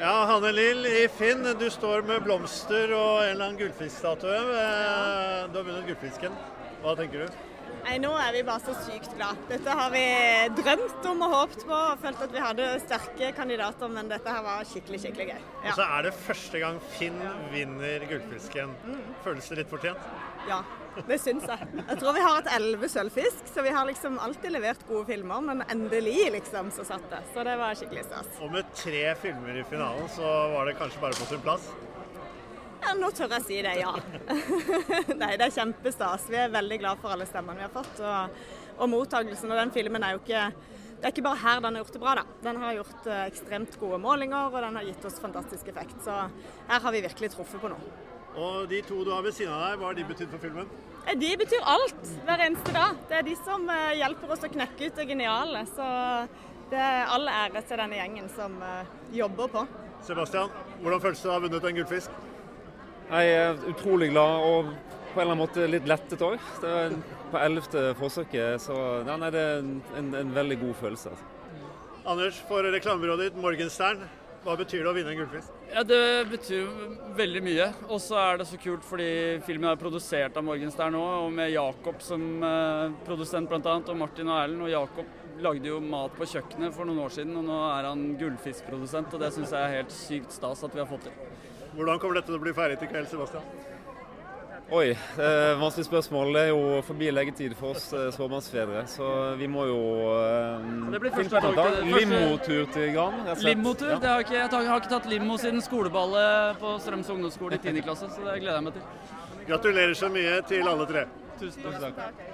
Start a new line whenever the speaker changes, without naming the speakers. Ja, Hanne Lill i Finn, du står med blomster og en eller annen gullfiskstatue. Eh, Du har vunnet gullfisken. Hva tenker du?
Nei, nå er vi bare så sykt glad. Dette har vi drømt om og håpet på. og Følt at vi hadde sterke kandidater, men dette her var skikkelig skikkelig gøy.
Og
Ja.
så Altså, er det første gang Finn vinner gullfisken. Føles det litt fortjent?
ja det syns jeg. Jeg tror vi har hatt elleve sølvfisk, så vi har liksom alltid levert gode filmer. Men endelig, liksom, så satt det. Så det var skikkelig stas.
Og med tre filmer i finalen, så var det kanskje bare på sin plass.
Ja, nå tør jeg si det, ja. Nei, det er kjempestas. Vi er veldig glad for alle stemmene vi har fått, og, og mottagelsen. Og den filmen er jo ikke det er ikke bare her den har gjort det bra, da. Den har gjort eh, ekstremt gode målinger, og den har gitt oss fantastisk effekt. Så her har vi virkelig truffet på noe.
Og de to du har ved siden av deg, hva har de betydd for filmen?
Eh, De betyr alt hver eneste dag. Det er de som eh, hjelper oss å knekke ut det geniale. Så det er all ære til denne gjengen som eh, jobber på.
Sebastian, hvordan føles det å ha vunnet en gullfisk?
Jeg er utrolig glad og på en eller annen måte litt lettet òg. På ellevte forsøket, så ja, nei, det er en, en veldig god følelse. altså.
Anders, for reklamebyrået ditt, Morgenstern, hva betyr det å vinne en gullfisk?
Ja, Det betyr jo veldig mye. Og så er det så kult fordi filmen er produsert av Morgenstern nå, og med Jakob som eh, produsent bl.a., og Martin og Erlend. Og Jakob lagde jo mat på kjøkkenet for noen år siden, og nå er han gullfiskprodusent. Og det syns jeg er helt sykt stas at vi har fått til.
Hvordan kommer dette til å bli feiret i kveld, Sebastian?
Oi, eh, vanskelig spørsmål. Det er jo forbi leggetid for oss eh, småbarnsfedre, så vi må jo eh,
Det blir
finne på
første
noe
tog til-
annet.
første-
Limotur til Gran. rett og slett.
Limotur?
Ja.
Det har jeg, ikke, jeg tar- jeg har ikke tatt limo siden skoleballet på Strøms ungdomsskole i 10. klasse, så det gleder jeg meg til.
Gratulerer så mye til alle tre.
Tusen takk.